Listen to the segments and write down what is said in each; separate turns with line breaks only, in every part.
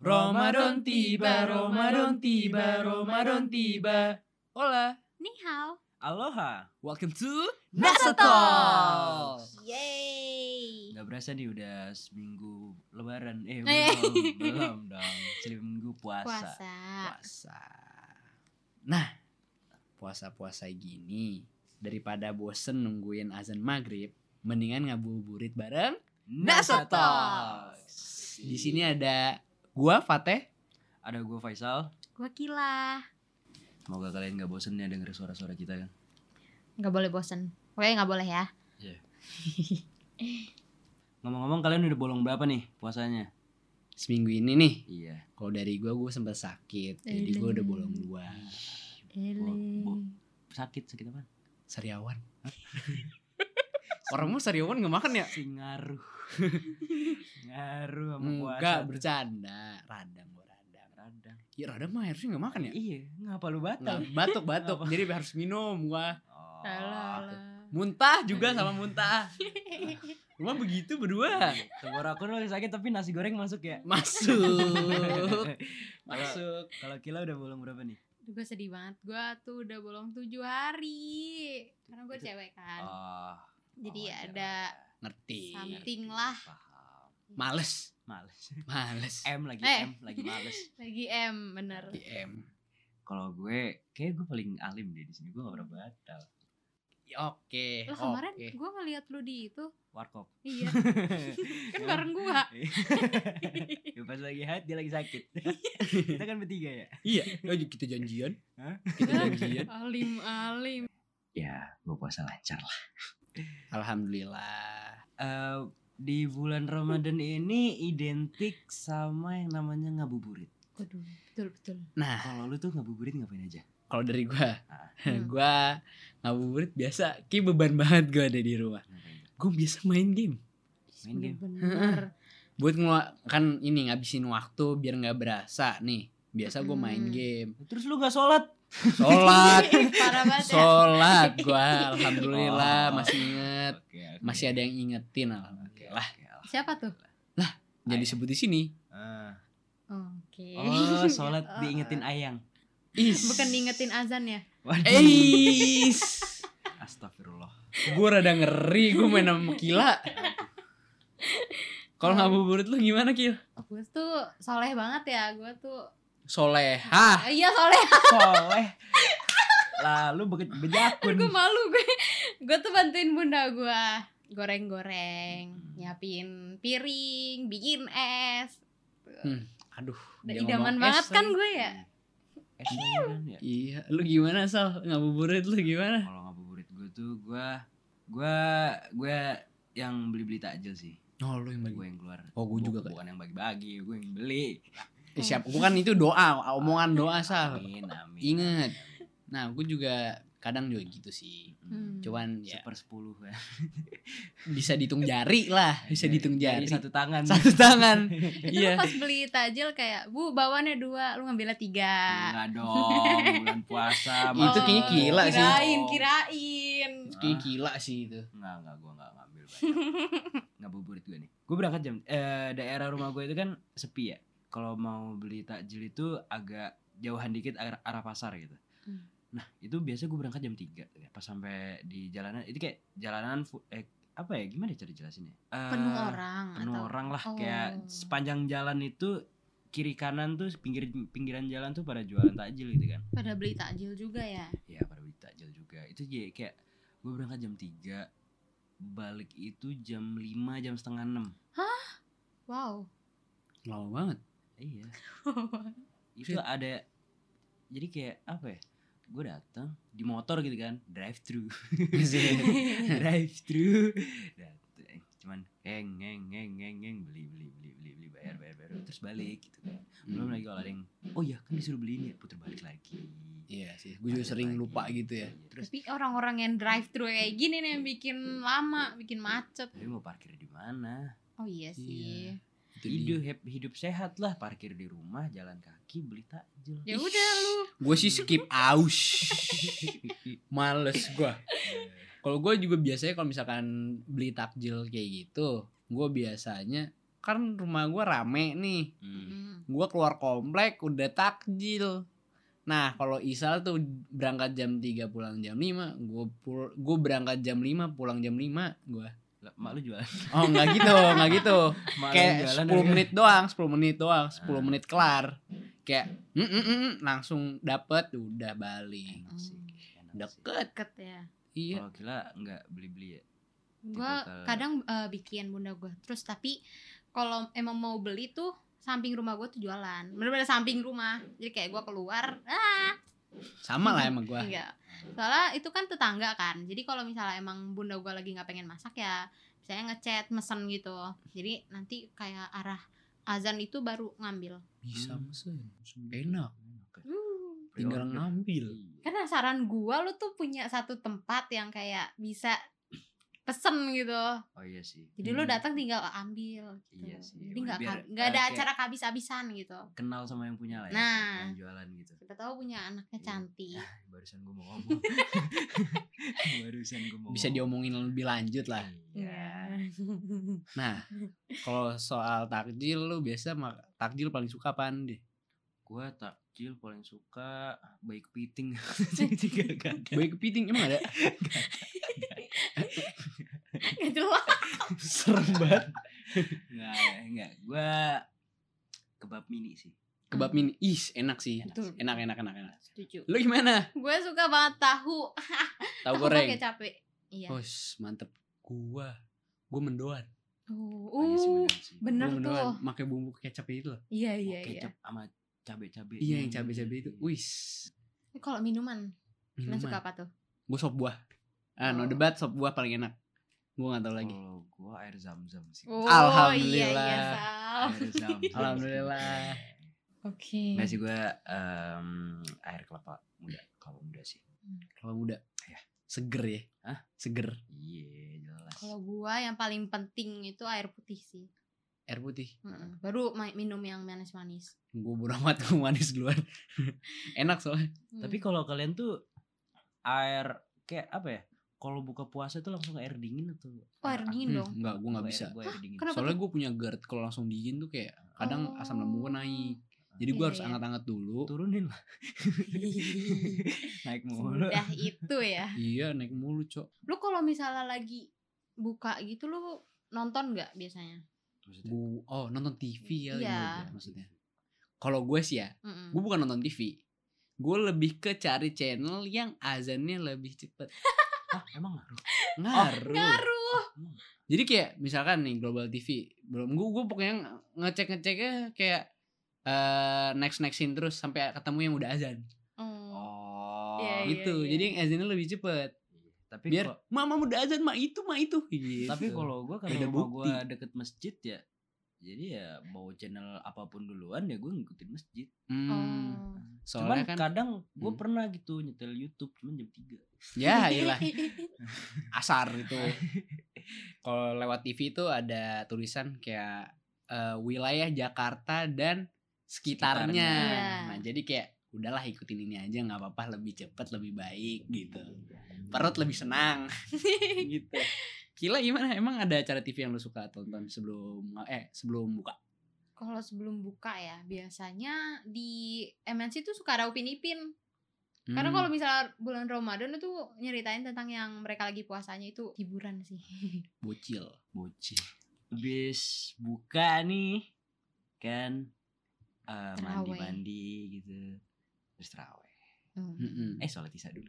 Ramadan tiba, Ramadan tiba, Ramadan tiba. Hola,
Ni hao.
aloha, welcome to
Nasa
Talks.
Yeay.
Gak berasa nih udah seminggu lebaran, eh
Eh.
belum, belum dong, seminggu puasa.
Puasa.
Puasa. Nah, puasa-puasa gini, daripada bosen nungguin azan maghrib, mendingan ngabuburit bareng Nasa Talks. Di sini ada gua Fateh, ada gua Faisal.
Gua kila.
Semoga kalian gak bosen ya denger suara-suara kita kan.
Gak boleh bosen. Pokoknya gak boleh ya.
Ngomong-ngomong kalian udah bolong berapa nih puasanya? Seminggu ini nih. Iya. Kalau dari gua gua sempat sakit. Jadi gua udah
Eling.
bolong dua. Bo- bo- Sakit sakit apa? Sariawan. Orang mau sariawan nggak makan ya?
Si ngaruh ngaruh sama puasa
Enggak bercanda, radang gua radang.
radang
Ya radang mah harusnya nggak makan ya?
iya ngapa lu
Nggak,
batal
batuk batuk. Jadi harus minum gua.
oh.
Muntah juga sama muntah. Cuma begitu berdua.
tenggorokan lu lagi sakit tapi nasi goreng masuk ya
Masuk.
kalau
Masuk.
kalau kila udah bolong berapa nih
Gue sedih banget. Gue tuh udah bolong tujuh hari. Karena gue
Itu-
cewek
Ah,
kan.
oh,
Jadi
wajar
ada
lah.
Ngerti.
something lah.
iya. paham
Males.
males
Males.
M lagi
Eh.
M lagi males
Lagi M bener.
DM.
kalau gue kayak gue paling alim deh di sini gue gak pernah batal
Ya, Oke.
Lah kemarin
oke.
gue ngeliat lu di itu.
warkop
Iya. Kan
Emang-
bareng gua.
Ya, pas lagi haid dia lagi sakit kita kan bertiga ya
Iya, ayo kita janjian.
Hah?
Kita janjian.
alim alim.
ya gue puasa lancar lah
Alhamdulillah.
Eh, di bulan Ramadan ini identik sama yang namanya ngabuburit.
Waduh, betul betul.
Nah,
Kalau lu tuh ngabuburit ngapain aja?
kalau dari gua,
Hmm.
gua ngabuburit biasa. Ki beban banget gua ada di rumah.
Ngapain tuh?
Gua biasa main game.
Main game.
Bener.
Buat ngelu- kan ini ngabisin waktu biar nggak berasa nih. Biasa gua main
Mm.
game.
Terus lu nggak sholat?
Sholat,
Parah banget ya.
sholat gua. Alhamdulillah
Oh.
masih inget.
Oke, oke.
Eh, Masih ada yang ingetin.
Oke lah.
Alhamdulillah.
Siapa tuh?
Ayah.
Jadi sebut di sini.
Ah.
Oke.
Oh, sholat diingetin ayang.
Is.
Bukan diingetin azan ya?
Waduh.
Eis.
Astagfirullah.
gue rada ngeri gue main sama Kila. Kalau
Hmm.
ngabuburit lu gimana Kil?
Gue tuh soleh banget ya, gue tuh
Soleha.
Ah, Iya soleh,
Soleh. Lalu be- bejakun.
gue malu gue Gue tuh bantuin bunda gue Goreng-goreng,
Hmm.
nyiapin piring, bikin es
Aduh.
Udah
dia
idaman
ngomong
banget
es
kan
lagi.
gue ya
Eh, sholat kan ya?
Iya, lu gimana Sal? Ngabuburit lu gimana?
Kalau ngabuburit gue tuh gue gue gue yang beli-beli takjil sih.
Oh lu yang
Gue yang keluar.
Oh gue
Bu-
juga kayak.
bukan yang bagi-bagi, gue yang beli.
Eh, siap. Bukan itu doa, omongan doa Sal.
Amin, amin.
Ingat. Nah gue juga kadang juga gitu sih.
Hmm.
Cuman ya
Super sepuluh ya.
bisa dihitung jari lah, bisa dihitung jari. Satu,
satu tangan.
tangan.
Itu lu
iya.
pas beli tajil kayak Bu bawaannya dua, lu ngambilnya tiga
Enggak dong, bulan puasa.
Hmm. Itu kayaknya
Oh,
gila sih.
Kirain, kirain
Kayak gila sih itu.
Enggak, enggak, gue enggak ngambil Enggak buburit gue nih. Gue berangkat jam eh, daerah rumah gue itu kan sepi ya. Kalau mau beli takjil itu agak jauhan dikit arah, arah pasar gitu.
Hmm.
Nah, itu biasa gue berangkat jam 3 ya. Pas sampai di jalanan itu kayak jalanan fu- eh, apa ya? Gimana cara jelasinnya?
Ah,
Eh,
Penuh orang
penuh
atau
orang lah
Oh.
kayak sepanjang jalan itu kiri kanan tuh pinggir pinggiran jalan tuh pada jualan takjil gitu kan
pada beli takjil juga ya
ya pada beli takjil juga itu jadi kayak gue berangkat jam 3 balik itu jam 5 jam setengah 6
Wow
Lama banget.
iya itu
Shit.
ada jadi kayak apa ya gue datang di motor gitu kan drive thru
Iya
drive thru datang cuman ngeng ngeng ngeng ngeng ngeng beli beli beli beli beli bayar bayar bayar terus balik gitu kan
Hmm.
belum lagi kalau ada yang oh iya kan disuruh beli ini ya puter balik lagi
Iya sih, gue juga
Balik
sering
lagi.
lupa gitu ya.
Iya, terus
Tapi orang-orang yang drive thru kayak gini nih yang bikin lama, bikin macet.
tapi mau parkir di mana
Oh iya sih.
Itu
hidup hidup sehat lah parkir di rumah jalan kaki beli takjil
Ya udah lu.
Gue sih skip aus. Iya. Males gue. Kalau gue juga biasanya kalau misalkan beli takjil kayak gitu, gue biasanya kan rumah gua rame nih
Hmm.
gua keluar komplek udah takjil nah kalau Isal tuh berangkat jam 3 pulang jam 5 gue pul gue berangkat jam 5 pulang jam 5 gua
Lah, Mak lu jualan.
oh nggak gitu nggak gitu
Mak lu
kayak
jualan
10
harga.
menit doang 10 menit doang 10
Ah.
menit kelar kayak "Mm, mm, mm, mm," langsung dapet udah balik
Enak sih. Enak sih.
Hmm. deket
Deket ya.
iya
Kalau gila nggak beli-beli ya.
Gua
Tipikal-
kadang eh, bikin bunda gua. Terus tapi kalau emang mau beli tuh samping rumah gua tuh jualan. Bener-bener samping rumah. Jadi kayak gua keluar, ah,
sama lah emang gua
enggak. Soalnya itu kan tetangga kan. Jadi kalau misalnya emang bunda gua lagi nggak pengen masak ya, saya ngechat mesen gitu. Jadi nanti kayak arah azan itu baru ngambil.
bisa
Hmm.
mesen enak
Hmm.
Pre-order.
tinggal ngambil
Iya.
Karena Kan saran gua lu tuh punya satu tempat yang kayak bisa pesen gitu.
Oh iya sih.
Jadi lu
Hmm.
datang tinggal ambil gitu.
Iya sih.
Jadi
Udah
nggak
biar-
ka- nggak ada
ah, kayak-
acara habis-habisan gitu.
Kenal sama yang punya lah ya.
Nah.
Yang jualan gitu.
Siapa tahu punya anaknya
Iya.
cantik.
Barusan gue mau ngomong. Barusan gue mau.
bisa
Oh.
ngomong.
diomongin lebih lanjut lah
Iya.
Nah, kalau soal takjil lu biasa mak- takjil paling suka apaan deh?
Gue takjil paling suka baik kepiting. Tiga kagak.
Bayi kepiting emang ada?
Ya, jelas.
Serem banget.
Enggak, enggak. Gue kebab mini sih.
Kebab mini, ih enak sih.
Enak
Betul.
sih.
Iya, Enak enak enak enak.
Setuju.
Lu gimana?
Gue suka banget tahu.
Tahu
Aku pakai
goreng.
capek. Iya. Oh,
Bos, mantep. Gua gua mendoan.
Oh iya sih,
uh,
beneran sih.
Gua
bener tuh.
mendoan, pakai bumbu kecap itu loh.
Iya
Mau
iya iya.
Kecap sama cabe-cabe.
Iya,
Hmm.
yang cabe-cabe itu. Wis.
Kalau minuman, lu suka
Minuman.
apa tuh?
Gua sop buah. Ah, no
Oh.
debat sop buah paling enak. Gua gak tahu lagi.
Kalau gue air zam-zam sih.
Oh, Iya, iya,
Alhamdulillah.
Sal.
Air zam-zam sih.
Alhamdulillah.
Oke.
Enggak sih gue air kelapa muda. Kalau muda sih.
Kalau muda.
Iya.
Seger ya.
Hah?
Seger.
Iya, jelas.
Kalau gua yang paling penting itu air putih sih.
Air putih.
Mm-mm. Baru ma- minum yang manis-manis.
gue bodo amat gue manis duluan enak soalnya
Hmm.
Tapi kalau kalian tuh air kayak apa ya? Kalau buka puasa tuh langsung air dingin atau?
Oh, air dingin dong.
enggak gue Hmm, nggak
Gua air-
bisa
gua air dingin.
kenapa
soalnya gue punya GERD kalau langsung dingin tuh kayak kadang asam lambung gue
Oh.
naik jadi gue
Iya,
harus
iya.
angkat-angkat dulu
Turunin lah. Naik mulu.
Udah itu ya.
iya naik mulu cok
Lu kalau misalnya lagi buka gitu lu nonton nggak biasanya?
Maksudnya,
gue oh nonton TV ya
Iya. Hmm.
maksudnya kalau gue sih ya
Mm-mm.
gue bukan nonton TV gue lebih ke cari channel yang azannya lebih cepet
ah emang ngaruh.
ngaruh
Oh, Ngaruh.
Jadi kayak misalkan nih Global TV belum gue gue pokoknya ngecek ngeceknya kayak eh next nextin terus sampai ketemu yang udah azan
Mm.
Oh.
Iya, iya.
gitu. Jadi yang azannya lebih cepet.
Tapi
Biar
kalau-
mama udah azan mak itu mak itu. Gitu.
tapi kalau gue karena
Beda
rumah
bukti.
gue deket masjid ya. Jadi ya mau channel apapun duluan ya gue ngikutin masjid.
Hmm,
Oh.
soalnya
cuman
kan
kadang gue
Hmm.
pernah gitu nyetel YouTube cuman jam 3.
Oh.
ya iyalah asar itu. kalau lewat TV itu ada tulisan kayak eh, wilayah Jakarta dan sekitarnya.
Sekitarnya.
Iya.
Nah jadi kayak udahlah ikutin ini aja nggak apa-apa lebih cepet lebih baik gitu. Perut lebih senang. gitu. Gila gimana? Emang ada acara TV yang lu suka tonton sebelum eh sebelum buka?
kalau sebelum buka ya biasanya di MNC tuh suka ada upin ipin.
Hmm.
Karena kalau misalnya bulan Ramadan itu nyeritain tentang yang mereka lagi puasanya itu hiburan sih.
bocil.
Bocil. Habis buka nih kan eh,
Terawih.
mandi-mandi gitu. Terus terawih.
Mm.
Mm-mm.
Eh sholat isya dulu.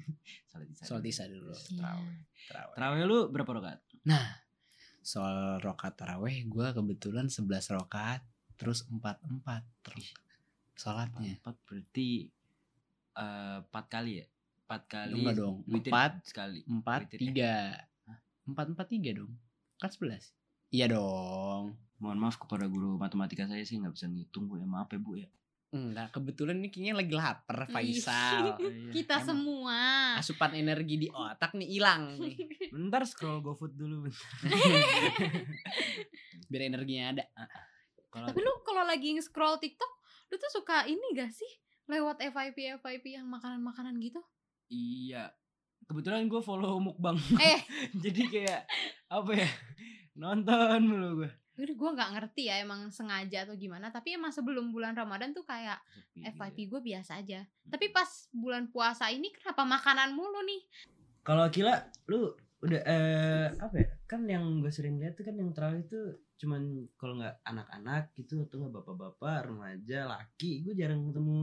sholat isya.
Sholat
dulu.
isya dulu.
Terus
Iya.
Terawih.
Terawih.
Terawih lu berapa rakaat?
Soal rokat taraweh gue kebetulan 11 rokat terus 4 4 terus
Empat,
salatnya.
empat berarti eh, empat kali ya? Empat kali.
Enggak dong.
witir
4
sekali.
4
Witir, eh.
3. 4 4 3 dong. Kan 11. Iya dong.
Mohon maaf kepada guru matematika saya sih nggak bisa ngitung bu ya maaf ya bu ya.
Enggak, kebetulan ini kayaknya lagi lapar
Ih.
Faisal.
Hmm,
Emang.
Kita semua.
Asupan energi di otak nih hilang nih.
Bentar scroll GoFood dulu bentar.
Biar energinya ada.
Kalau
Tapi lu kalau lagi scroll TikTok, lu tuh suka ini gak sih? Lewat FYP FYP yang makanan-makanan gitu?
Iya. Kebetulan gue follow mukbang.
Eh.
Jadi kayak apa ya? Nonton mulu gue.
Udah gue nggak ngerti ya emang sengaja atau gimana tapi emang sebelum bulan Ramadan tuh kayak
Sepi gitu ya.
FYP gue biasa aja tapi pas bulan puasa ini kenapa makanan mulu nih
Kalau Kila, lu udah eh apa ya? Kan yang gue sering lihat tuh kan yang terawih itu cuman kalau nggak anak-anak gitu atau nggak bapak-bapak, remaja, laki. Gue jarang ketemu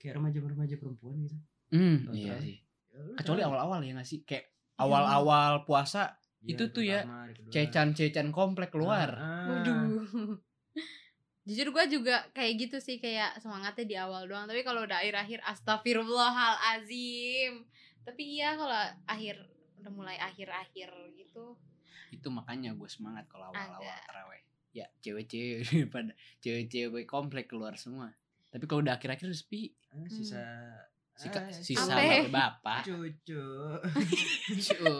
kayak remaja-remaja perempuan gitu.
Hmm,
Betul.
iya sih.
Ya, lu
Kecuali
terawih.
awal-awal ya nggak sih? Kayak awal-awal puasa
Iya,
itu tuh ya,
pertama, hari kedua.
cecan-cecan komplek keluar.
Ah, ah.
Waduh. Jujur gue juga kayak gitu sih kayak semangatnya di awal doang tapi kalau udah akhir-akhir astagfirullahalazim. Tapi iya kalau akhir udah mulai akhir-akhir gitu.
Itu makanya gue semangat kalau awal-awal
Agak.
terawih. Ya cewek-cewek pada cewek-cewek komplek keluar semua. Tapi kalau udah akhir-akhir udah sepi.
Ah, sisa
Sika,
ah,
sisa
Apa? Sampai.
bapak-bapak.
cucu.
Cu.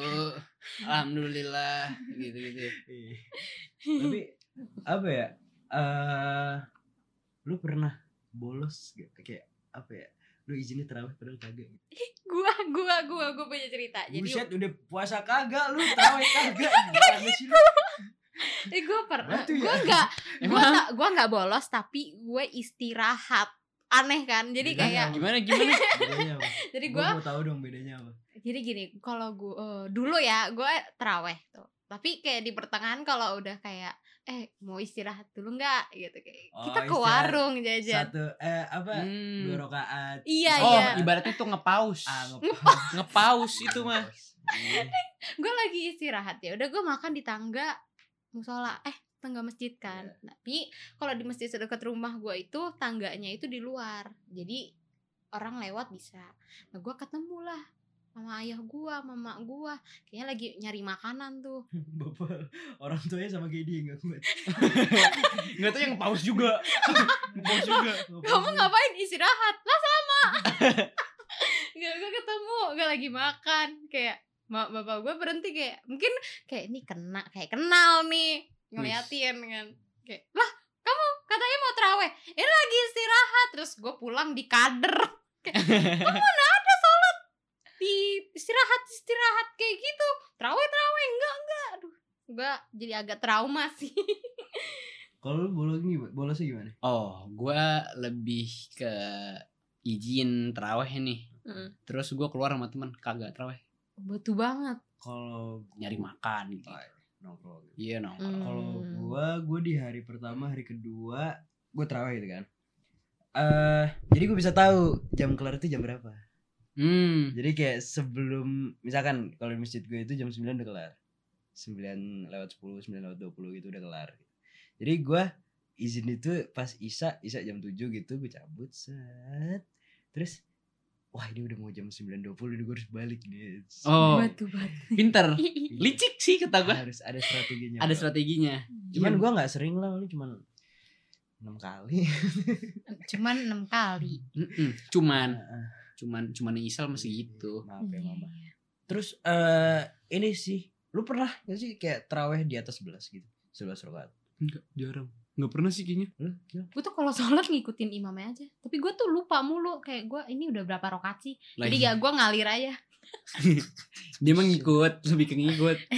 Alhamdulillah gitu-gitu.
Iya. Tapi apa ya? Eh lu pernah bolos gak? Kayak apa ya? Lu izinnya terawih padahal kagak gitu.
Gua gua gua gua punya cerita. Jadi
Buset udah puasa kagak lu terawih kagak Gimana sih lu?
eh, gua pernah
Batu ya?
gua enggak gua
Emang
nggak- gua enggak bolos tapi gue istirahat. Aneh kan? Jadi
Gimana?
kayak
gimana gimana?
bedanya apa?
jadi
Gua
gitu. gua
mau tahu dong bedanya apa
jadi gini kalau gue dulu ya gue teraweh tuh tapi kayak di pertengahan kalau udah kayak eh mau istirahat dulu nggak gitu kayak
Oh,
kita ke
istirahat.
warung jajan
Satu eh apa
Hmm.
Dua rakaat
Iya,
Oh,
iya.
ibaratnya tuh ngepaus.
Ah, ngepas.
Ngepaus itu mah.
Iya.
gue lagi istirahat ya udah gue makan di tangga musola eh tangga masjid kan tapi kalau di masjid dekat rumah gue itu tangganya itu di luar jadi orang lewat bisa nah gue ketemu lah sama ayah gue mama gue kayaknya lagi nyari makanan tuh
Bapak orang tuanya sama kayak dia gak kuat
Enggak tuh yang paus juga. paus juga.
kamu ngapain istirahat lah sama gak gue ketemu gak lagi makan kayak ma- bapak gue berhenti kayak mungkin kayak ini kena kayak kenal nih ngeliatin kan kayak lah kamu katanya mau teraweh ini lagi istirahat terus gue pulang di kader kayak kamu mana ada sholat di istirahat istirahat kayak gitu teraweh teraweh enggak enggak aduh gue jadi agak trauma sih
Kalau lu bolos gini, bolosnya gimana?
Oh, gua lebih ke izin teraweh nih.
Mm.
Terus gua keluar sama temen kagak teraweh,
betul banget
Kalau gua-
nyari makan gitu.
Ah, nongkrong gitu.
Iya nong.
Mm.
Kalau
Hmm.
gua, gua di hari pertama, hari kedua, gua terawih gitu kan. Eh, jadi gua bisa tahu jam kelar itu jam berapa.
Hmm.
Jadi kayak sebelum misalkan kalau di masjid gue itu jam 9 udah kelar. 9 lewat 10, 9 lewat 20 gitu udah kelar. Jadi gue izin itu pas Isa, Isa jam 7 gitu gue cabut set. Terus wah ini udah mau jam 9.20 nih gue harus balik nih.
Oh,
batu batu
pinter. Licik sih kata gua.
Harus ada strateginya.
Ada
bro.
strateginya.
Cuman
Iya.
gue nggak sering lah, lu cuman 6 kali.
cuman enam kali
Mm-mm. Cuman,
Heeh.
cuman, cuman yang Isal Kan, masih gitu.
Maaf ya mama. Terus eh ini sih, lu pernah gak sih kayak teraweh di atas 11 gitu? 11 rakaat.
Enggak, jarang. Enggak pernah sih kayaknya.
Lu gila.
gue tuh kalau sholat ngikutin imamnya aja tapi gue tuh lupa mulu kayak gue ini udah berapa rokat sih jadi
iya.
ya gue ngalir aja
Dia emang ngikut, lebih ke ngikut.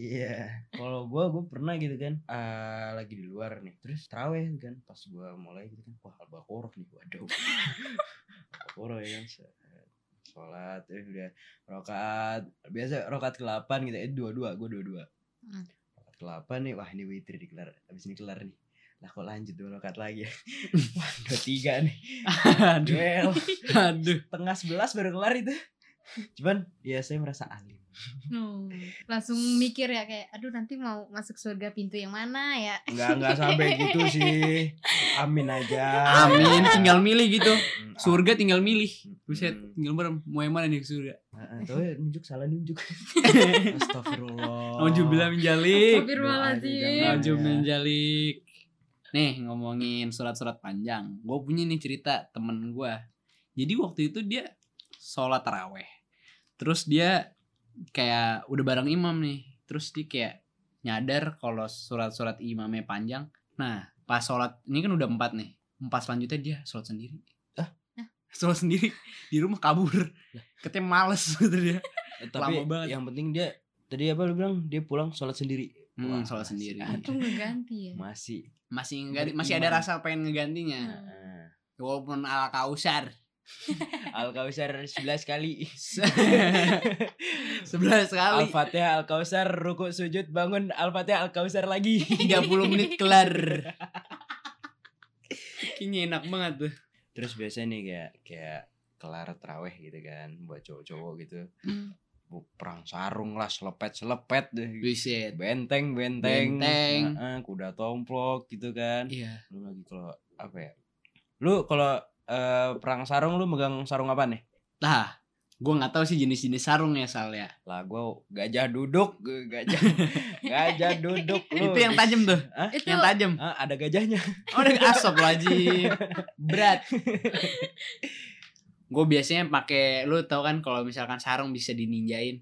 Iya. Kalau gua gua pernah gitu kan eh, lagi di luar nih. Terus teraweh kan pas gua mulai gitu kan wah al-baqarah nih waduh. al-baqarah ya kan. set. Sholat eh, udah rokaat biasa rokaat ke-8 gitu eh dua-dua gua dua-dua.
Hmm.
Rokaat ke-8 nih wah ini witir di kelar abis ini kelar nih. Lah kok lanjut dua rokaat lagi ya. wah dua tiga nih.
aduh,
Duel.
aduh.
Tengah 11 baru kelar itu. Cuman ya saya merasa alim.
langsung mikir ya kayak aduh nanti mau masuk surga pintu yang mana ya
Enggak, enggak sampai gitu sih. Amin aja.
Amin, tinggal milih gitu.
Mm,
Surga tinggal milih.
mm,
Buset,
mm.
tinggal merem. Mau yang mana nih surga?
Heeh, Tahu ya, nunjuk salah nunjuk. Astagfirullah.
Naujubillah min jalik.
Iya.
Astagfirullahaladzim
Naujubillah min jalik. Nih ngomongin surat-surat panjang. Gue punya nih cerita temen gue. Jadi waktu itu dia sholat taraweh. Terus dia kayak udah bareng imam nih. Terus dia kayak nyadar kalau surat-surat imamnya panjang. Nah pas sholat ini kan udah empat nih. Empat selanjutnya dia sholat sendiri.
Hah?
Sholat sendiri di rumah kabur. Katanya males gitu dia.
Eh, Tapi
Lama banget.
yang penting dia tadi apa lu bilang dia pulang sholat sendiri.
Hmm,
Wah,
sholat
masih
sendiri.
ada.
Itu ngeganti ya.
masih
Masih ngeganti, masih ada
Beriman.
rasa pengen ngegantinya.
Heeh.
Walaupun ala kausar.
Al Kausar 11 kali.
Sebelas
Al
kali.
Fatihah Al Kausar rukuk sujud bangun Al Fatihah Al Kausar lagi.
30 menit kelar. Kayaknya enak banget tuh.
Terus biasanya nih kayak kayak kelar teraweh gitu kan buat cowok-cowok gitu.
Hmm.
Bu, perang sarung lah selepet selepet deh. gitu.
Buset.
Benteng benteng.
Benteng.
Heeh, kuda tomplok gitu kan.
Iya.
Lu lagi kalau apa ya? Lu kalau eh, perang sarung lu megang sarung apa nih?
Nah, gue nggak tahu sih jenis-jenis sarung ya Sal ya.
Lah gua gajah duduk, gua gajah gajah duduk lu.
Itu yang tajam tuh,
Hah?
Itu
yang tajam.
Ah, ada gajahnya.
Oh, udah asap lagi. Berat. gue biasanya pakai lu tau kan kalau misalkan sarung bisa dininjain.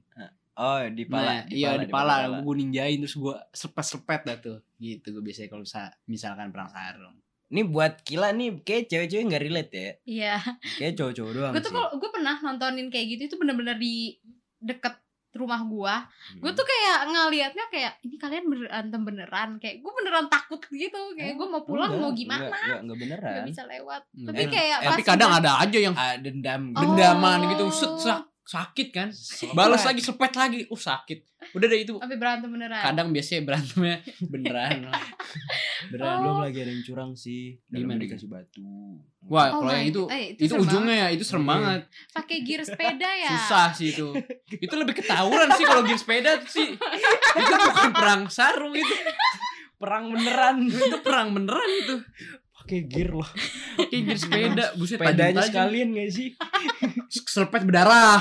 Oh, di pala.
Nah, iya
pala,
di pala, gue ninjain terus gue sepet-sepet dah tuh. Gitu gue biasanya kalau sa- misalkan perang sarung.
Ini buat Kila nih kayak cewek-cewek nggak relate ya.
Iya.
Kayak cowok-cowok doang
Gue tuh
sih.
kalau gue pernah nontonin kayak gitu itu bener-bener di deket rumah gua gue
Hmm.
tuh kayak ngelihatnya kayak ini kalian berantem beneran kayak gue beneran takut gitu kayak gue mau pulang mau
Oh,
gimana
Enggak, enggak, enggak beneran.
nggak bisa lewat
Nggak
tapi
bener.
kayak
Iya. Tapi
pas
kadang
udah-
ada aja yang
Ah, dendam.
Oh.
dendaman gitu, set, sak- sakit kan. Balas lagi sepet lagi, uh sakit. Udah deh itu.
tapi berantem beneran
Kadang biasanya berantemnya beneran. lah.
Oh.
beneran.
Belum lagi ada yang curang sih. Dalam
Gimana?
dikasih batu.
Wah,
Oh
kalau
my
yang itu
God. Eh,
itu,
serem
ujungnya ya, itu serem
Iya.
banget.
banget. pakai gear sepeda ya
Susah sih itu. itu lebih ketahuan sih kalau gear sepeda sih. Itu bukan perang sarung itu.
perang beneran.
Itu perang beneran itu.
Pakai gear loh.
Kayak gear sepeda, buset
Sepedanya
tajam-tajam.
sekalian gak sih?
Selepet berdarah.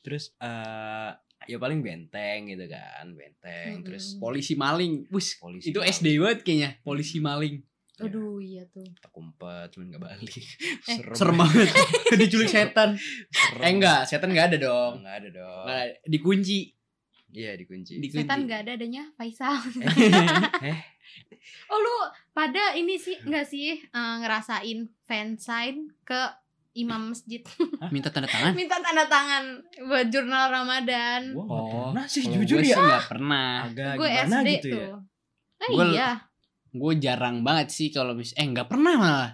Terus eh ya paling benteng gitu kan, benteng.
Mm-mm.
Terus
Polisi maling. Wis,
polisi.
itu SD banget kayaknya. Polisi maling.
aduh iya tuh
Tak umpet cuman gak balik.
Eh,
Serem.
Serem banget. Diculik setan.
Serem.
Eh enggak, setan enggak ada dong.
Enggak ada dong.
Enggak, dikunci.
Iya dikunci.
Dikunci.
setan nggak ada adanya Faisal
eh,
oh lu pada ini sih nggak sih eh, ngerasain fansign ke imam masjid
Minta tanda tangan.
minta tanda tangan buat jurnal ramadan
gua nggak
Oh,
pernah sih
kalau
jujur
gue
ya.
sih nggak pernah.
Agak
gue
gimana
SD
gitu ya.
tuh Eh,
Gua-
iya
Gue jarang banget sih kalau mis eh nggak pernah malah.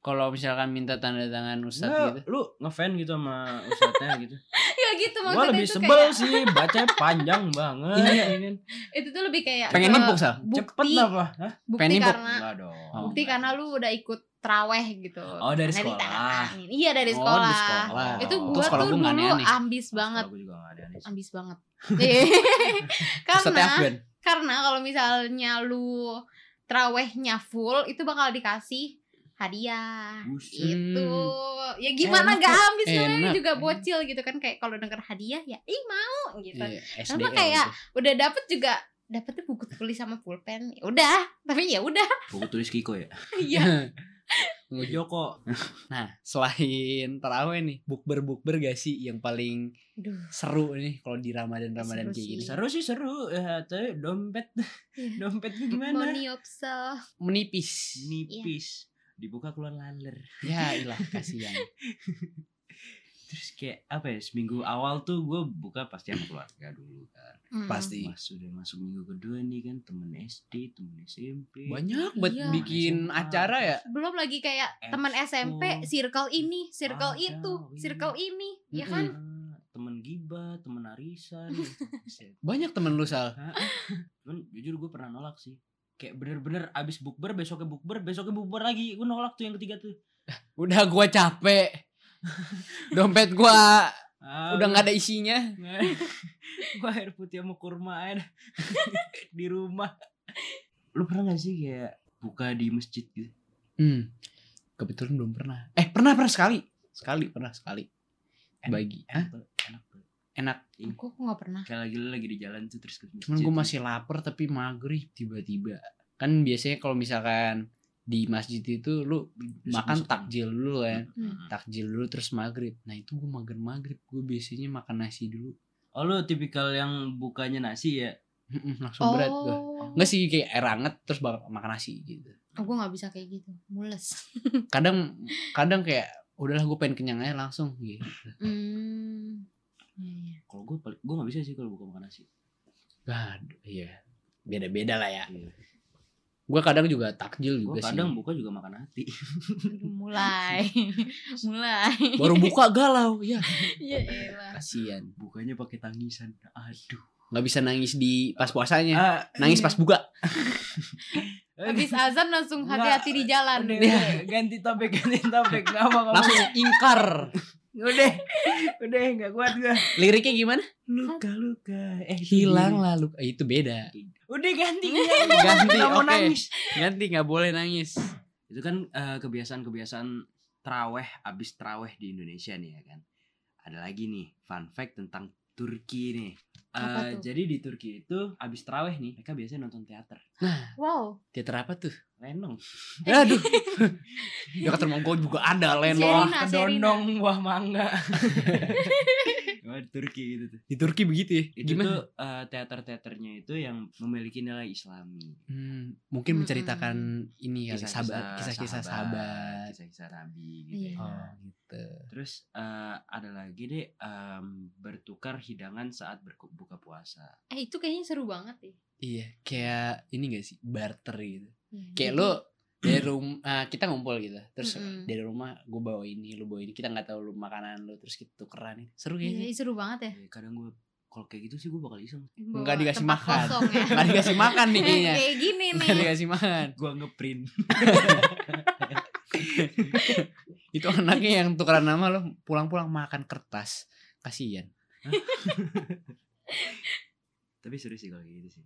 Kalau misalkan minta tanda tangan ustaz
Nggak,
gitu.
lu ngefan gitu sama ustadznya gitu.
ya gitu
gua
maksudnya
lebih
itu
sebel
kayak
sih, bacanya panjang banget.
Iya.
ya kan.
itu tuh lebih kayak
Pengen
ke
nimpuk sal.
bukti
Cepet lah pak. Hah?
bukti
Pengen nimpuk.
karena
Enggak dong.
bukti
Oh,
karena lu udah ikut traweh gitu
Oh, dari
Karena
sekolah.
ditandatanganin. iya dari
Oh,
sekolah,
di sekolah.
itu
Oh.
gua
Terus sekolah
tuh
gua nggak
dulu
aneh-aneh.
ambis banget
Aku juga nggak ada nih.
ambis banget Iya.
Ustaznya
karena
Afgan.
karena kalau misalnya lu trawehnya full itu bakal dikasih hadiah
Buset.
gitu ya gimana
Hmm. Enak
gak ambis namanya
Enak.
juga bocil gitu kan kayak kalau denger hadiah ya ih mau gitu
Iya, SD.
Sama kayak udah dapet juga dapetnya buku tulis sama pulpen Ya udah tapi ya udah
Buku tulis Kiko ya.
iya
Joko.
Nah, selain taraweh nih, bukber-bukber gak sih yang paling
Duh.
seru nih kalau di Ramadan-Ramadan
Seru
kayak
sih.
gini?
Seru sih seru. Ya, tapi dompet,
Iya.
dompet lu gimana?
Moniopsel
Menipis.
Nipis. Dibuka keluar laler.
Ya, ilah kasihan.
Terus kayak apa ya? Seminggu awal tuh gue buka pasti sama keluarga dulu kan.
Hmm.
Pasti.
Mas udah masuk minggu kedua nih kan temen SD, temen SMP.
Banyak buat
Iya.
bikin
Sama
acara ya.
belum lagi kayak
Expo.
teman SMP circle ini circle
Ada,
itu
iya.
circle ini ya
Mm-mm.
kan
Ah, temen Giba, temen Arisan. Buset.
Banyak temen lu Sal.
Ah, ah. Cuman jujur gue pernah nolak sih. Kayak bener-bener abis bukber, besoknya bukber, besoknya bukber lagi. Gue nolak tuh yang ketiga tuh.
Udah gua capek. Dompet gua
Ah,
udah nggak ada isinya.
gue air putih sama kurma aja dah. di rumah. Lu pernah gak sih kayak buka di masjid gitu?
Hmm. Kebetulan belum pernah. Eh, pernah pernah sekali. Sekali pernah sekali.
Enak.
Bagi. Hah?
Enak banget, Enak banget.
aku kok nggak pernah
Kayak lagi lu lagi di jalan tuh terus ke masjid.
Cuman gue masih lapar tapi maghrib tiba-tiba. Kan biasanya kalau misalkan di masjid itu lu makan
masuk.
takjil dulu kan.
Mm-mm.
Takjil dulu terus maghrib. Nah itu gue mager maghrib. Gue biasanya makan nasi dulu.
Oh lu tipikal yang bukanya nasi ya?
Mm-mm, Langsung berat gue. Enggak sih kayak air anget terus bak- makan nasi gitu.
oh, gue nggak bisa kayak gitu mules
Kadang kadang kayak udahlah gue pengen kenyang aja langsung gitu.
Hmm. Iya, iya.
Kalau gue gue gak bisa sih kalau buka makan nasi.
Waduh, iya. Beda-beda lah ya.
Iya.
Gue kadang juga takjil
Gue
juga
kadang
sih.
buka juga makan hati.
Aduh, mulai mulai
Baru buka galau, ya.
ya elah
Kasian.
Bukanya pakai tangisan. Aduh.
Nggak bisa nangis di pas
Iya.
puasanya.
Ah,
Nangis pas buka.
habis azan langsung hati-hati di jalan
Eh,
Iya.
Udah, udah, ganti topik, ganti topik. Kenapa kamu?
Langsung ingkar.
Udah, udah nggak kuat gue.
Liriknya gimana?
Luka, luka. Eh,
Hilang lalu. Eh, itu beda.
Udah ganti.
Ganti,
Nggak mau
oke.
nangis.
Ganti, nggak boleh nangis.
itu kan eh, kebiasaan-kebiasaan traweh abis traweh di Indonesia nih ya kan ada lagi nih fun fact tentang Turki nih Eh,
Apa tuh?
jadi di Turki itu abis traweh nih mereka biasanya nonton teater
wow
Teater apa tuh?
lenong
Aduh. Dekat rumah gue juga ada lenong.
Serina, Serina.
kedondong buah mangga Wah, di Turki gitu tuh
Di Turki begitu ya?
itu
Gimana?
tuh eh, teater-teaternya itu yang memiliki nilai islami
Hmm, mungkin
Mm-mm.
menceritakan ini kali sahabat, Hmm. Iya, kisah-kisah sahabat.
kisah-kisah nabi gitu
Iya.
ya.
Oh, gitu.
Terus eh, ada lagi deh em, bertukar hidangan saat berku- buka puasa.
eh itu kayaknya seru banget sih
Iya, kayak ini gak sih barter gitu.
Ya,
Kayak
jadi-
lo dari rumah kita ngumpul gitu. Terus
Mm-mm.
dari rumah gue bawa ini, lu bawa ini. Kita nggak tahu lu makanan lu terus kita tukeran ini. Seru
Iya,
kayaknya.
iya, seru banget ya.
Eh, Kadang gue kalau kayak gitu sih gue bakal iseng.
Bawa
Nggak dikasih
tempat
makan.
Kosong ya.
Gak dikasih makan nih kayaknya.
Kayak gini
Gak
nih.
dikasih makan.
Gue ngeprint.
Itu anaknya yang tukeran nama lo pulang-pulang makan kertas. Kasian.
Tapi seru sih kalau kayak gitu sih.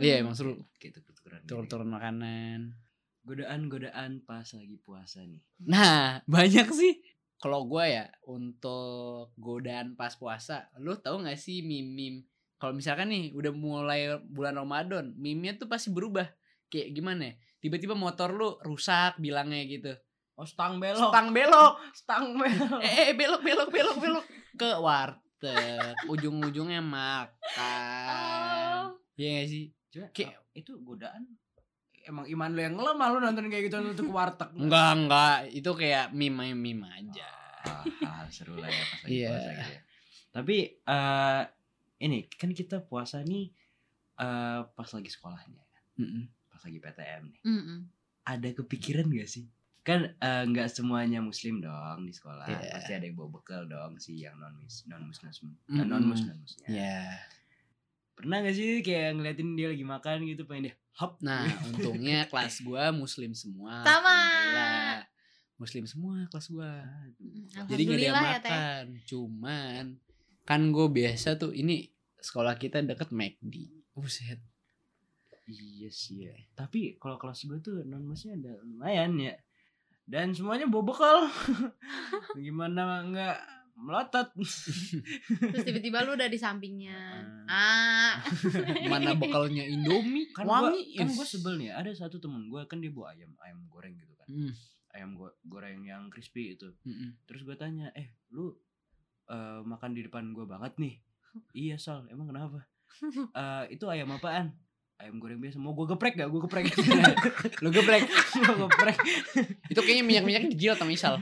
Iya, emang seru.
Kayak tuker-tukeran. gitu.
Tuker-tukeran makanan.
Godaan-godaan pas lagi puasa nih.
Nah, banyak sih. Kalau gue ya untuk godaan pas puasa, lu tahu nggak sih mim-mim? Kalau misalkan nih udah mulai bulan Ramadan, mimnya tuh pasti berubah. Kayak gimana ya? Tiba-tiba motor lu rusak bilangnya gitu.
Oh stang Oh,
Stang belok.
stang belok.
Eh, eh, belok belok belok belok ke warteg. Ujung-ujungnya makan.
Oh.
Iya nggak sih?
Cuma, ah,
Kayak-
itu godaan emang iman lu yang ngelemah lu nonton kayak gitu nonton ke warteg.
Enggak, enggak. Itu kayak meme meme aja.
Ah, hal seru lah ya pas lagi
Iya.
puasa gitu ya. Tapi eh ini kan kita puasa nih eh pas lagi sekolahnya,
Mm-mm.
pas lagi PTM nih.
Mm-mm.
Ada kepikiran gak sih? Kan eh, nggak semuanya muslim dong di sekolah.
Iya.
Pasti ada yang bawa bekal dong si yang non mis non muslim eh,
Mm-mm.
non muslimnya.
Ya.
Pernah gak sih kayak ngeliatin dia lagi makan gitu pengen dia hop.
Nah, untungnya kelas gua muslim semua.
Sama.
Alhamdulillah. Muslim semua kelas gua.
Aduh.
Jadi nggak ada yang
Alhamdulillah ya, Teh.
makan. Cuman kan gue biasa tuh ini sekolah kita deket McD. Buset.
Iya sih ya. Tapi kalau kelas gue tuh non musnya ada lumayan ya. Dan semuanya bawa bekal. Gimana nggak melotot.
Terus tiba-tiba lu udah di sampingnya.
Ah.
Ah.
Mana bekalnya Indomie?
Kan
wangi.
gue kan gua sebel nih. Ada satu temen gue kan dia bawa ayam ayam goreng gitu kan.
Mm,
Ayam go- goreng yang crispy itu.
mm, mm.
Terus gue tanya, eh lu eh, makan di depan gue banget nih. Iya Sol, emang kenapa? "Eh, itu ayam apaan? Ayam goreng biasa. Mau gue geprek gak? Gue geprek.
Lu geblek.
Gue geprek.
Itu kayaknya minyak-minyaknya dijilat sama Isal.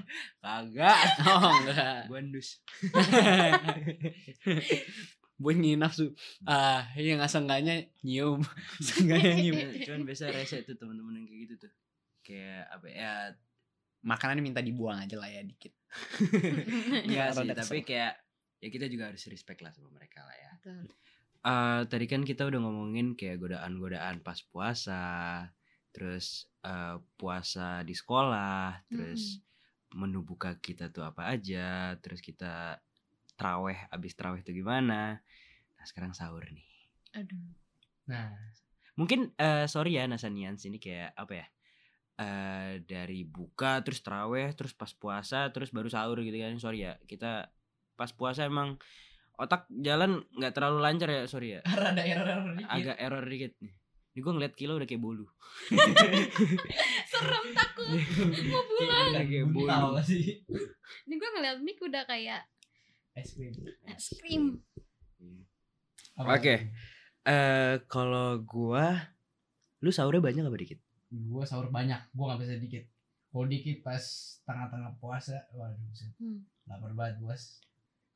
Kagak.
Oh enggak.
Gue endus.
Bunyi nafsu. Ah, yang seenggaknya nyium. Seenggaknya nyium.
Iya, cuman biasa rese tuh temen-temen yang kayak gitu tuh kayak apa ya
Makanannya minta dibuang aja lah ya dikit.
enggak ya sih
Rada kesel.
tapi kayak ya kita juga harus respect lah sama mereka lah ya
Betul.
Eh, tadi kan kita udah ngomongin kayak godaan-godaan pas puasa terus eh, puasa di sekolah terus menu buka kita tuh apa aja terus kita traweh abis traweh tuh gimana nah sekarang sahur nih
Aduh.
Nah,
mungkin eh sorry ya Nasanians ini kayak apa ya Eh dari buka terus teraweh terus pas puasa terus baru sahur gitu kan sorry ya kita pas puasa emang otak jalan nggak terlalu lancar ya sorry ya
rada error
agak error dikit nih ini gue ngeliat kilo udah kayak bolu
Serem takut. Mau pulang.
udah kayak bolu
sih.
Ini gue ngeliat Mik udah kayak
Es krim.
es krim.
Oke. Eh kalau gua lu sahurnya banyak apa dikit
Gue sahur banyak, gue gak bisa dikit. Kalau dikit pas tengah-tengah puasa, waduh, buset.
Hmm.
lapar banget bos.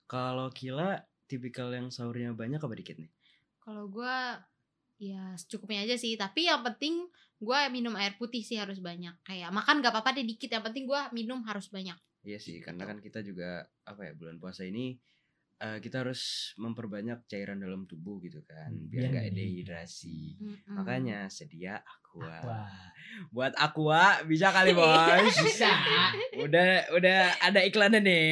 kalau Kila tipikal yang sahurnya banyak apa dikit nih
Kalau gue ya secukupnya aja sih. Tapi yang penting gue minum air putih sih harus banyak. Kayak makan gak apa-apa deh dikit. Yang penting gue minum harus banyak.
Iya sih,
Gitu.
karena kan kita juga apa ya bulan puasa ini eh, kita harus memperbanyak cairan dalam tubuh gitu kan, biar
Biar
nggak
nggak
dehidrasi.
Mm-mm.
Makanya sedia aqua.
Wah.
Buat aqua bisa kali bos.
Bisa.
udah udah ada iklannya nih.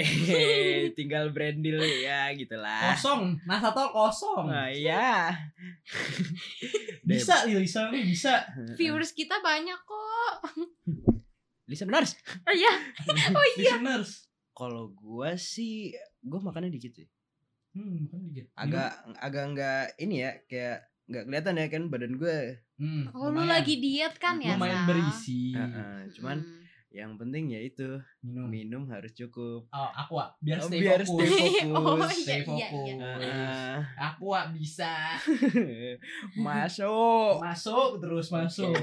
Tinggal brand deal ya gitulah.
Kosong. Nasa tol kosong.
Nah, iya.
Bisa Lisa ini bisa.
viewers kita banyak kok.
Listeners,
Oh iya,
Oh iya. Listeners.
kalau gua sih gua makannya dikit sih.
Hmm, kan dikit.
Agak agak enggak ini ya kayak nggak kelihatan ya kan badan gue
Hmm,
oh lu
lumayan.
lagi diet kan ya?
Lumayan
Sal?
berisi.
Heeh, cuman
Mm.
yang penting ya itu
Minum.
minum harus cukup
Oh, aqua. Biar stay
Biar
fokus.
stay
oh
fokus,
iya
stay
iya iya.
fokus.
Heeh.
Aqua bisa.
masuk
Masuk terus masuk.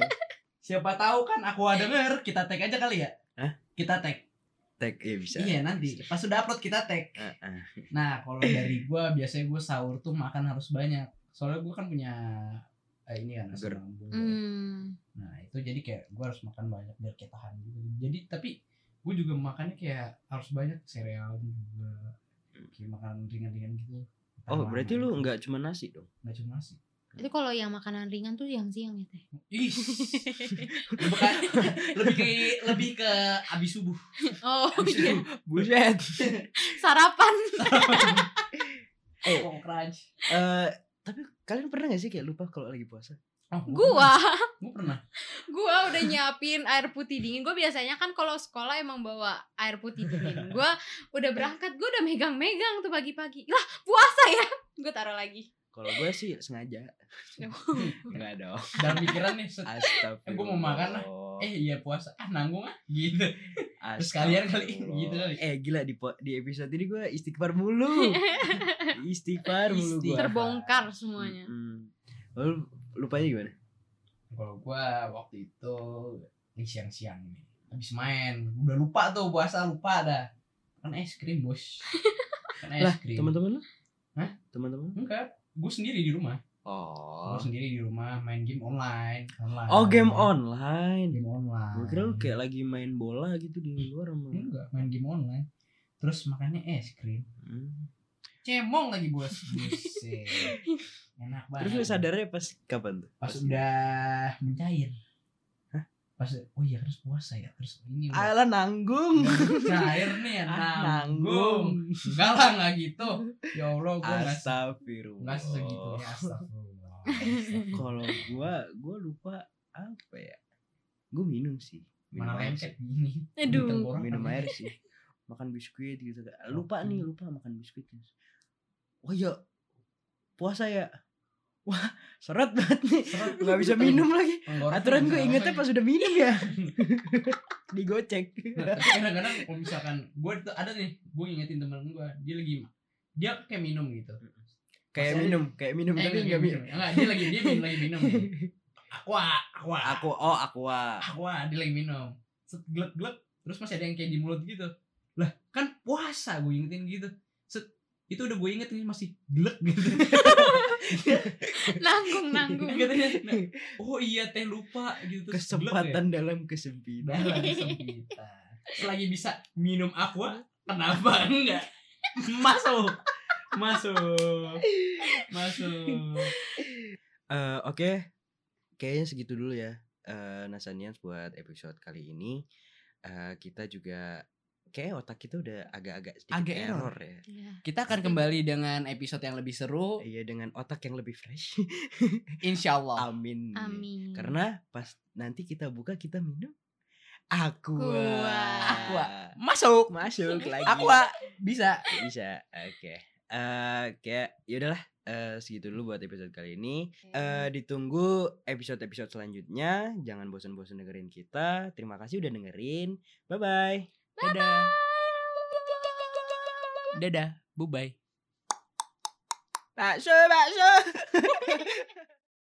Siapa tahu kan aqua denger, kita tag aja kali ya.
Hah?
Kita tag.
tag ya bisa
Iya, nanti pas sudah upload kita tag.
Heeh.
Nah, kalau dari gua biasanya gua sahur tuh makan harus banyak. Soalnya gua kan punya eh, ini kan asam
Ger.
lambung.
Hmm.
Nah, itu jadi kayak gua harus makan banyak biar kayak tahan gitu. Jadi tapi gua juga makannya kayak harus banyak sereal juga. Kayak makan ringan-ringan gitu.
oh berarti lu nggak cuma nasi dong
enggak cuma nasi.
Itu kalau yang makanan ringan tuh yang siang ya teh.
Ih. Bukan lebih ke lebih ke abis subuh.
Oh
Abis
iya,
subuh.
buset
sarapan.
Iya. Oh.
Eh, Wong crunch.
Eh, tapi kalian pernah gak sih kayak lupa kalau lagi puasa
Oh,
Gua,
pernah. Gua pernah.
gua udah nyiapin air putih dingin. Gua biasanya kan kalau sekolah emang bawa air putih dingin. Gua udah berangkat, gua udah megang-megang tuh pagi-pagi. Lah, puasa ya. Gua taruh lagi.
kalau gue sih sengaja nggak dong
Dalam pikiran nih, set,
astagfirullah
Gua mau makan lah. eh iya puasa, ah nanggung ah gitu. Terus kalian kali,
Astagfirullah.
gitu kali.
eh gila di po- di episode ini gue istighfar mulu istighfar mulu gue
Terbongkar semuanya.
Lalu lupanya gimana
Kalau gua waktu itu ini siang-siang nih. Habis main, udah lupa tuh puasa lupa dah. Kan es krim, Bos. Kan es
lah
krim.
teman-teman lu
Hah?
teman-teman
Enggak, gue sendiri di rumah.
oh
Gua sendiri di rumah main game online. online.
oh game online
Game online.
gue kira lu
Iya.
kayak lagi main bola gitu di luar sama
enggak main game online. Terus makannya es krim.
Hmm.
Iya. Cemong lagi, Bos. Buset. Enak banget.
terus lu sadarnya pas kapan tuh
pas udah mencair. Pas oh iya harus puasa ya. Terus ini udah
ala nanggung
cair nih ya
Ah,
nanggung enggak lah enggak gitu ya allah gue nggak se-
Astagfirullah.
nggak segitunya astagfirullah
Kalau gua gua lupa apa ya? Gua minum sih. Minum
mana
air sih.
lengket gini
Aduh.
Di tenggorokan.
Minum air sih. Makan biskuit gitu kan. Lupa nih, lupa makan biskuit. Oh iya. Puasa ya. Wah, seret banget nih.
Seret.
Gak bisa minum lagi.
Tenggorokan
Aturan gue
bisa
ingetnya
ngapain.
pas udah minum ya. Digocek.
Nah, tapi kadang-kadang kalau misalkan gue itu ada nih gue ingetin temen gue dia lagi ma- dia kayak minum gitu
Kayak
Maksudnya-
minum, kayak minum
Eh,
tapi
minum,
enggak minum.
enggak dia lagi dia minum lagi minum nih. aqua aqua
Aku oh aqua.
aqua Ah, dia lagi minum set glek glek terus masih ada yang kayak di mulut gitu lah kan puasa gue ingetin gitu set itu udah gue inget nih masih glek gitu
Nanggung, nanggung.
Iya.
Katanya, nah, oh iya teh lupa gitu terus glek
Kesempatan dalam
ya.
kesempitan.
Dalam kesempitan. Selagi bisa minum aqua, kenapa enggak? Masuk. Masuk. Masuk.
Eh, Oke, kayaknya segitu dulu ya eh Nasanians buat episode kali ini. Eh kita juga kayak otak kita udah agak-agak sedikit
Agak
error, ya.
Iya.
Kita akan kembali dengan episode yang lebih seru,
Iya dengan otak yang lebih fresh.
insyaallah.
Amin.
Amin.
Karena pas nanti kita buka kita minum aqua.
Aqua.
Aqua. Masuk.
Masuk lagi.
Aqua bisa.
Bisa. Oke. Eh kayak yaudahlah eh segitu dulu buat episode kali ini. Eh, ditunggu episode-episode selanjutnya. Jangan bosan-bosan dengerin kita. Terima kasih udah dengerin. Bye bye.
Dadah. Dadah. Bye bye.
Bakso, bakso.